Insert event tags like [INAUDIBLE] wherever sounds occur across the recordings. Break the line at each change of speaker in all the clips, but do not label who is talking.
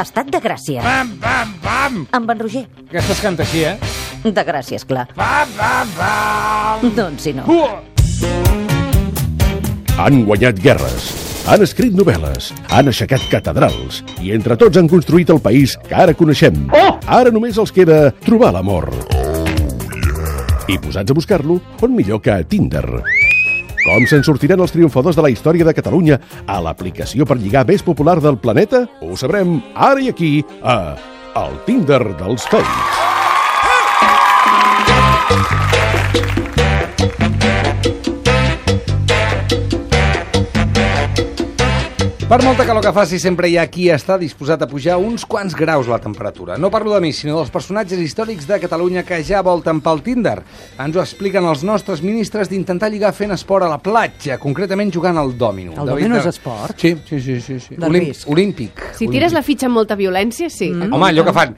Estat de gràcies.
Pam, pam, pam!
Amb en Roger.
Aquestes canta així, eh?
De gràcies, clar.
Pam, pam, pam!
Doncs si no.
Uh!
Han guanyat guerres, han escrit novel·les, han aixecat catedrals i entre tots han construït el país que ara coneixem.
Oh!
Ara només els queda trobar l'amor. I posats a buscar-lo, on millor que a Tinder. Com se'n sortiran els triomfadors de la història de Catalunya a l'aplicació per lligar més popular del planeta? Ho sabrem ara i aquí, a El Tinder dels Tois.
Per molta calor que faci, sempre hi ha qui està disposat a pujar uns quants graus la temperatura. No parlo de mi, sinó dels personatges històrics de Catalunya que ja volten pel Tinder. Ens ho expliquen els nostres ministres d'intentar lligar fent esport a la platja, concretament jugant al dòmino.
El
David,
dòmino és
eh,
esport?
Sí, sí, sí. sí, sí.
De risc.
olímpic.
Si tires la fitxa amb molta violència, sí. Mm.
Home, allò que fan...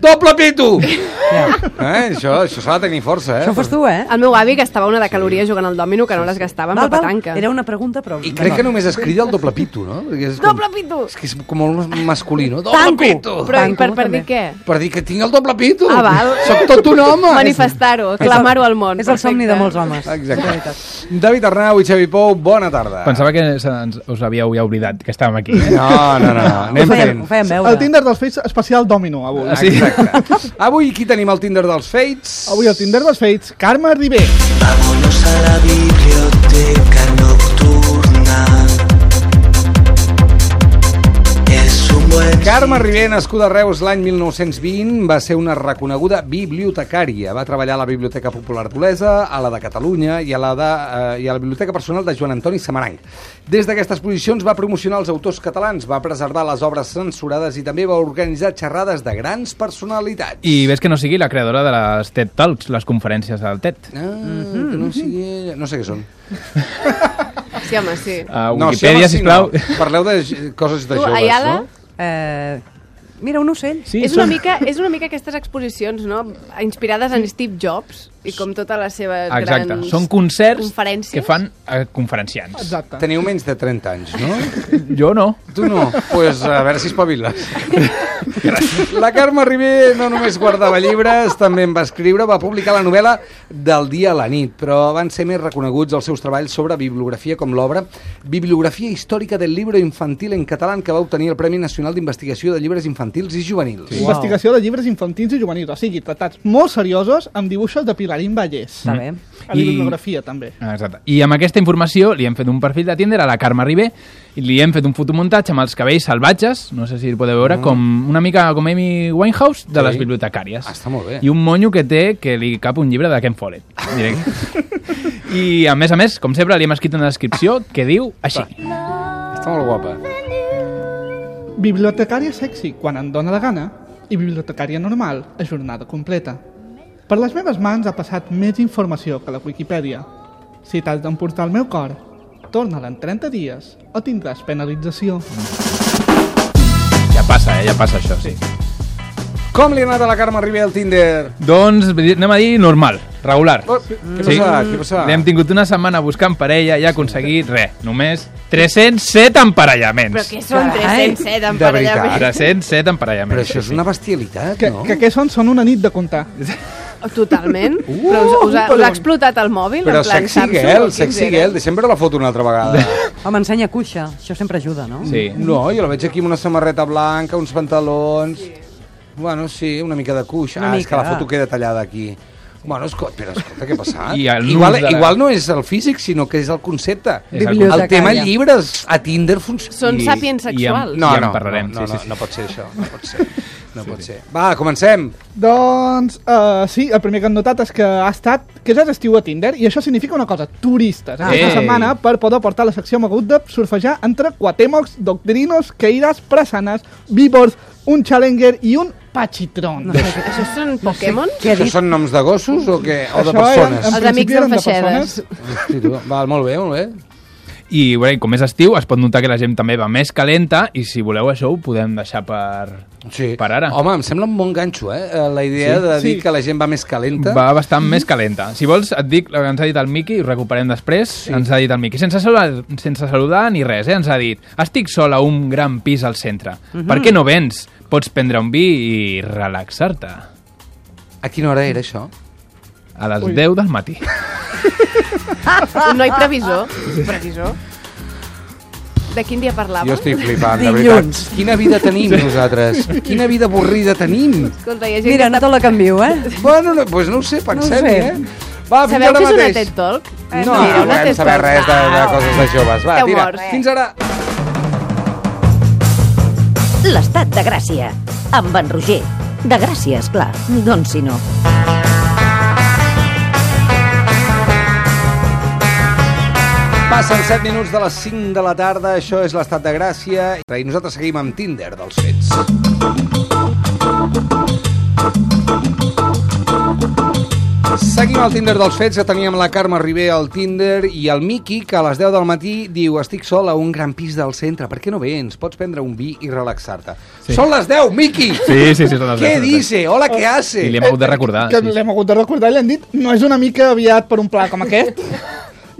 Doble pito! Eh, això, això s'ha de tenir força, eh?
Això ho fas tu, eh?
El meu avi gastava una de calories jugant al dòmino que no les gastava amb la petanca.
Era una pregunta, però...
I crec que només es crida el doble pito, no? Perquè És
Doble pito!
És que és com molt masculí, no? Doble
Tanco!
pito!
Però i
Banco,
per, per
també.
dir
Ah,
què?
Per dir que tinc el doble pito.
Ah, val.
Soc tot un home.
Manifestar-ho, clamar-ho al món.
És el somni de
Perfecte.
molts homes.
Exacte. David Arnau i Xavi Pou, bona tarda.
Pensava que se- ens, us havíeu ja oblidat que estàvem aquí. eh?
No, no, no, no.
Ho
anem
fèiem,
fent.
ho fèiem veure.
El Tinder dels Fates especial Domino, avui.
Ah, sí?
Exacte. Avui qui tenim al Tinder dels Fates?
Avui el Tinder dels Fates, Carme Ribé.
Vámonos a la biblioteca nocturna. Es un buen
Carme Ribé, nascuda a Reus l'any 1920, va ser una reconeguda bibliotecària. Va treballar a la Biblioteca Popular d'Olesa, a la de Catalunya i a la, de, eh, i a la Biblioteca Personal de Joan Antoni Samaranc. Des d'aquestes posicions va promocionar els autors catalans, va preservar les obres censurades i també va organitzar xerrades de grans personalitats.
I ves que no sigui la creadora de les TED Talks, les conferències del TED.
Ah, que no, sigui... no sé què són.
Sí, home, sí.
A
No, sí,
Wikipedia,
home, sí,
sisplau.
No. Parleu de j- coses Ah, de
Tu,
joves,
Ayala,
no?
Eh, mira, un ocell.
Sí,
és, una mica, és una mica aquestes exposicions, no?, inspirades en Steve Jobs i com tota totes les seves
[LAUGHS] Exacte,
grans
són concerts
conferències.
que fan eh, conferenciants.
Exacte.
Teniu menys de 30 anys, no?
Jo no.
Tu no? Doncs pues, a veure si espaviles. La Carme Ribé no només guardava llibres, també en va escriure, va publicar la novel·la Del dia a la nit, però van ser més reconeguts els seus treballs sobre bibliografia com l'obra Bibliografia històrica del libro infantil en català que va obtenir el Premi Nacional d'Investigació de Llibres Infantils i Juvenils.
Wow. Investigació de llibres infantils i juvenils, o sigui, tractats molt seriosos amb dibuixos de Pilarín Vallès.
Està bé.
A la bibliografia, també.
Ah, Exacte. I amb aquesta informació li hem fet un perfil de Tinder a la Carme Ribé i li hem fet un fotomuntatge amb els cabells salvatges, no sé si el podeu veure, mm. com una mica com Amy Winehouse de
Sí.
sí. les bibliotecàries.
Ah, està molt bé.
I un monyo que té que li cap un llibre de Ken Follett.
[LAUGHS]
Directe. I a més a més, com sempre, li hem escrit una descripció que diu així.
Està molt guapa.
Bibliotecària sexy, quan em dóna la gana, i bibliotecària normal, a jornada completa. Per les meves mans ha passat més informació que la Wikipedia. Si t'has d'emportar el meu cor, torna-la en 30 dies o tindràs penalització.
Ah,
Ja passa, eh? Ja passa això, sí.
Com li ha anat a la Carme Ribé al Tinder?
Doncs anem a dir normal, regular.
Oh, Què passa? Què passa?
L'hem tingut una setmana buscant parella i ha aconseguit, res, només 307 emparellaments.
Però que són
Carai.
307
De veritat.
emparellaments.
307 emparellaments.
Però això és una bestialitat,
Que,
no?
que què són? Són una nit de comptar.
Totalment. Però us, us, ha, us ha explotat el mòbil?
Uh, Però
en plan
sexy
Samsung, eh? o
girl,
quins
sexy eh?
eren?
girl. Deixem veure la foto una altra vegada.
Home, ensenya cuixa. Això sempre ajuda, no?
Sí.
No, jo la veig aquí amb una samarreta blanca, uns pantalons... Bueno, sí, una mica de cuix.
Una
Ah, és que la
mica.
foto queda tallada aquí. Bueno, escolta, però escolta, què ha passat?
I el nus
igual,
de la-
igual no és el físic, sinó que és el concepte.
És el
El
Bibliotecària.
tema llibres a Tinder funciona.
Són
I-
sàpiens
i amb-
sexuals.
No,
Ja en
no,
parlarem,
no, no,
sí, sí, sí.
no, no pot ser això, no pot ser. No pot ser. Va, comencem.
Doncs uh, sí, el primer que han notat és que ha estat que és estiu a Tinder i això significa una cosa, turistes. Aquesta
Ei.
setmana per poder portar la secció m'ha hagut de surfejar entre Quatemocs, Doctrinos, Queiras, Prasanas, Víbors, un Challenger i un Pachitron.
No sé què-
Això són Pokémon?
Què ha
Això
dit?
són noms de gossos o, què? o de
Això eren-
persones?
en
Els amics
principi eren
d'en Feixedes.
persones.
Hosti, tu. Val, molt bé, molt bé.
I bé, com és estiu, es pot notar que la gent també va més calenta i si voleu això ho podem deixar per,
Sí.
per ara.
Home, em sembla un bon ganxo, eh? Eh, La idea
Sí?
de dir
Sí.
que la gent va més calenta.
Va bastant més calenta. Si vols, et dic el que ens ha dit el Miqui i recuperem després. Sí. Ens ha dit el Miqui, sense saludar, sense saludar ni res, eh? ens ha dit estic sol a un gran pis al centre. Per què no vens? Pots prendre un vi i relaxar-te.
A quina hora era això?
A les Ui. 10 del matí.
Un noi previsor. Previsor. De quin dia parlava?
Jo estic flipant, de veritat. Quina vida tenim
[LAUGHS]
nosaltres? Quina vida avorrida tenim?
Escolta, hi ha gent
Mira, no te la canvio, eh?
Bueno, no, doncs no ho sé, pensem,
sé.
eh? Va, fins
Sabeu
ara
què és una
mateix.
TED Talk?
No,
Mira,
no
una
volem
TED
saber
Talk.
res de, de
Ah,
coses de joves. Va,
T'heu
tira.
mort.
Fins ara.
L'estat de Gràcia. Amb en Roger. De Gràcia, esclar. Doncs si no.
Passen 7 minuts de les 5 de la tarda. Això és l'Estat de Gràcia. I nosaltres seguim amb Tinder dels fets. Seguim al Tinder dels fets, que teníem la Carme Ribé al Tinder i el Miki, que a les 10 del matí diu estic sol a un gran pis del centre, per què no vens? Pots prendre un vi i relaxar-te. Sí. Són les 10, Miki!
Sí, sí, sí. Són les
¿Qué
10.
dice? Hola, ¿qué hace?
I li hem hagut de recordar.
que
Sí, sí.
l'hem hagut de recordar i li han dit no és una mica aviat per un pla com
[LAUGHS]
aquest.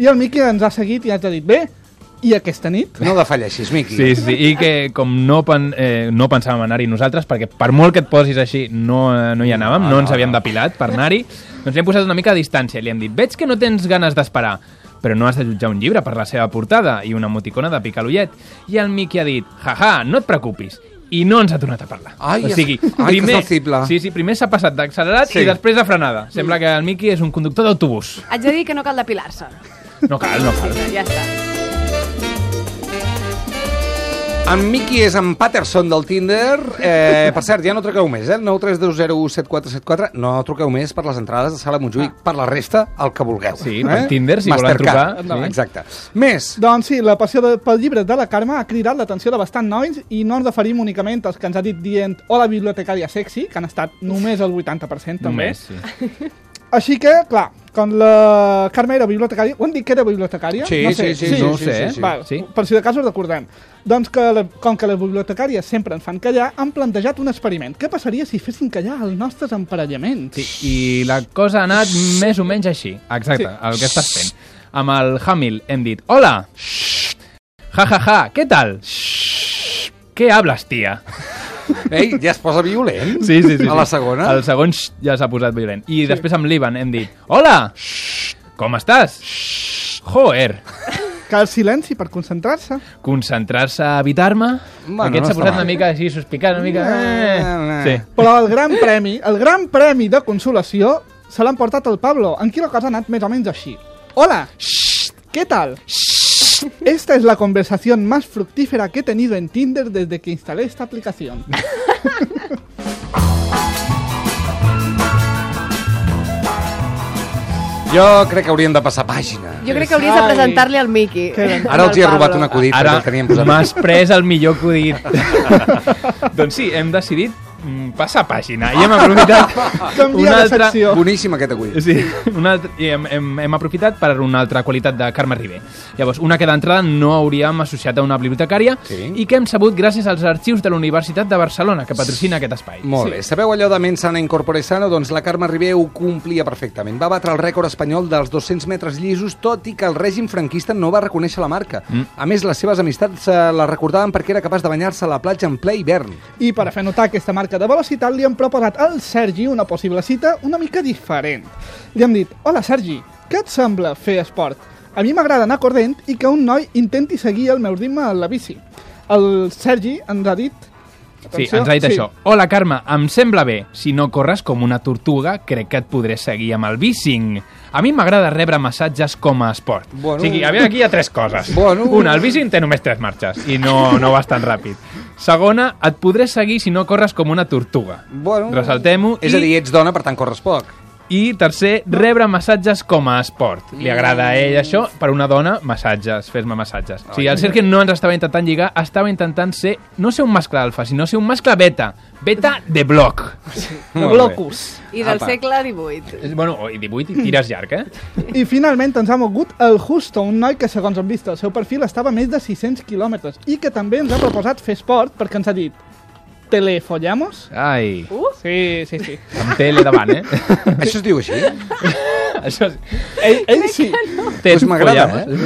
I el Miqui ens ha seguit i ens ha dit bé, i aquesta nit?
No defalleixis, Miqui.
Sí, sí, sí, i que com no, pen, eh, no pensàvem anar-hi nosaltres, perquè per molt que et posis així no, eh, no hi anàvem, no, ens havíem depilat per anar-hi, doncs li hem posat una mica a distància, li hem dit, veig que no tens ganes d'esperar, però no has de jutjar un llibre per la seva portada i una emoticona de picar l'ullet. I el Miqui ha dit, jaja, no et preocupis, i no ens ha tornat a parlar.
Ai,
o sigui,
ai, que
primer,
sensible.
sí, sí, primer s'ha passat d'accelerat
Sí.
sí. i després de frenada. Sembla que el Miqui és un conductor d'autobús.
Haig de dir que no cal depilar-se.
Ah,
No cal, no cal.
Ja està.
En Miqui és en Patterson del Tinder. Eh, per cert, ja no truqueu més, eh? 932017474. No truqueu més per les entrades de Sala Montjuïc. Per la resta, el que vulgueu.
Sí, per Tinder, si volen trucar,
Sí.
sí.
Exacte. Més.
Doncs sí, la passió de, pel llibre de la Carme ha cridat l'atenció de bastant nois i no ens referim únicament als que ens ha dit dient hola bibliotecària sexy, que han estat només el 80% també.
Només, sí.
Així que, clar, com la Carme era bibliotecària, ho hem dit que era bibliotecària?
Sí,
no sé.
sí, sí,
no ho sé, eh?
Val,
Sí.
Per si de cas ho recordem. Doncs que, la, com que les bibliotecàries sempre ens fan callar, han plantejat un experiment. Què passaria si fessin callar els nostres emparellaments?
Sí, i la cosa ha anat més o menys així. Exacte,
Sí.
el que estàs fent. Amb el Hamil hem dit, hola, ja, ja, ja, què tal? Què hables, tia?
Ei, ja es posa violent. A la segona.
El segon "Xx" ja s'ha posat violent. I després amb l'Ivan hem dit, hola, com estàs? Joer,
Cal silenci per concentrar-se.
concentrar-se a evitar-me?
Bueno,
Aquest
no
s'ha
està
posat
mal.
una mica així, sospicant una mica...
Eh,
Sí.
eh.
Però el gran premi, el gran premi de consolació, se l'han portat el Pablo, en qui la cosa ha anat més o menys així. Hola, ¿qué tal? Esta es la conversación más fructífera que he tenido en Tinder desde que instalé esta
[LAUGHS]
aplicación.
Jo crec que hauríem de passar pàgina.
Jo crec que hauries de
Ai.
presentar-li al Miqui.
Que-
Ara els hi he robat un acudit,
Ara
perquè el teníem posat.
m'has pres el millor acudit. [LAUGHS] doncs sí, hem decidit mm, passar pàgina i hem
[LAUGHS]
aprofitat
Canvia
una
de
altra...
secció.
Boníssim aquest acudit.
Sí, una altra, i hem, hem, hem aprofitat per una altra qualitat de Carme Ribé. Llavors, una que d'entrada no hauríem associat a una bibliotecària
Sí.
i que hem sabut gràcies als arxius de la Universitat de Barcelona, que patrocina aquest espai.
Molt bé. Sabeu allò de mens sana incorpore sano? Doncs la Carme Ribé ho complia perfectament. Va batre el rècord espanyol dels 200 metres llisos, tot i que el règim franquista no va reconèixer la marca. A més, les seves amistats eh, la recordaven perquè era capaç de banyar-se a la platja en ple hivern.
I per a fer notar aquesta marca de velocitat li hem proposat al Sergi una possible cita una mica diferent. Li hem dit, hola Sergi, què et sembla fer esport? A mi m'agrada anar corrent i que un noi intenti seguir el meu ritme a la bici. El Sergi ens ha dit...
Sí,
Atenció,
ens ha dit això. Hola, Carme, em sembla bé. Si no corres com una tortuga, crec que et podré seguir amb el bicing. A mi m'agrada rebre massatges com a esport.
Bueno.
Bueno. O sigui, a veure, aquí hi ha tres coses.
Bueno.
Una, el bicing té només tres marxes i no, no vas tan ràpid. Segona, et podré seguir si no corres com una tortuga.
Bueno,
Ressaltem-ho.
És
i...
a dir, ets dona, per tant corres poc.
I tercer, rebre massatges com a esport. Li agrada a ell això, per una dona, massatges, fes-me massatges. O sigui, el Sergi no ens estava intentant lligar, estava intentant ser, no ser un mascle alfa, sinó ser un mascle beta. Beta de bloc.
Molt bé.
Blocus.
I del
Apa.
segle XVIII.
És- Bueno, i 18 i tires llarg, eh?
I finalment ens ha mogut el Justo, un noi que segons hem vist el seu perfil estava a més de 600 quilòmetres i que també ens ha proposat fer esport perquè ens ha dit telefollamos?
Ai,
Sí, sí, sí.
amb tele davant, eh? [LAUGHS]
Això es diu així?
Això és...
Ell, ell sí,
Doncs m'agrada,
eh?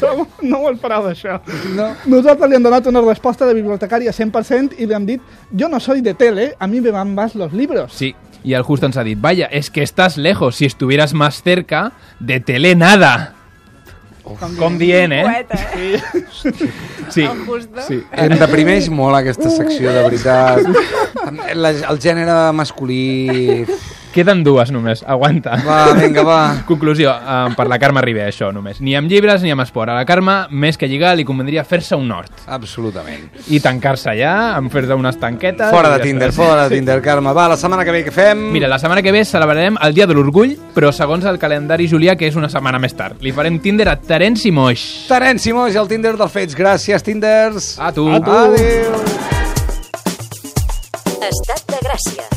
trobo, [LAUGHS] no ho esperava això.
No.
Nosaltres li hem donat una resposta de bibliotecària 100% i li hem dit jo no soy de tele, a mí me van más los libros.
eh? Sí, i el Justo ens ha dit, vaya, es que estás lejos, si estuvieras más cerca, de tele nada. Com dient, eh?
Poeta, eh?
Sí.
El Justo.
Sí.
Em deprimeix molt aquesta secció, de veritat. La, el gènere masculí...
Queden dues només, aguanta.
Va, vinga, va.
Conclusió, eh, per la Carme Ribé, això només. Ni amb llibres ni amb esport. A la Carme, més que lligar, li convendria fer-se un hort.
Absolutament.
I tancar-se allà, en fer-se unes tanquetes...
Fora
i
de
ja
Tinder,
està.
fora de Tinder, Carme. Va, la setmana que ve què fem?
Mira, la setmana que ve celebrarem el Dia de l'Orgull, però segons el calendari julià, que és una setmana més tard. Li farem Tinder a Terence i Moix.
Terence Simó és el Tinder dels fets. Gràcies, Tinders.
A tu.
Adéu.
Estat de Gràcia.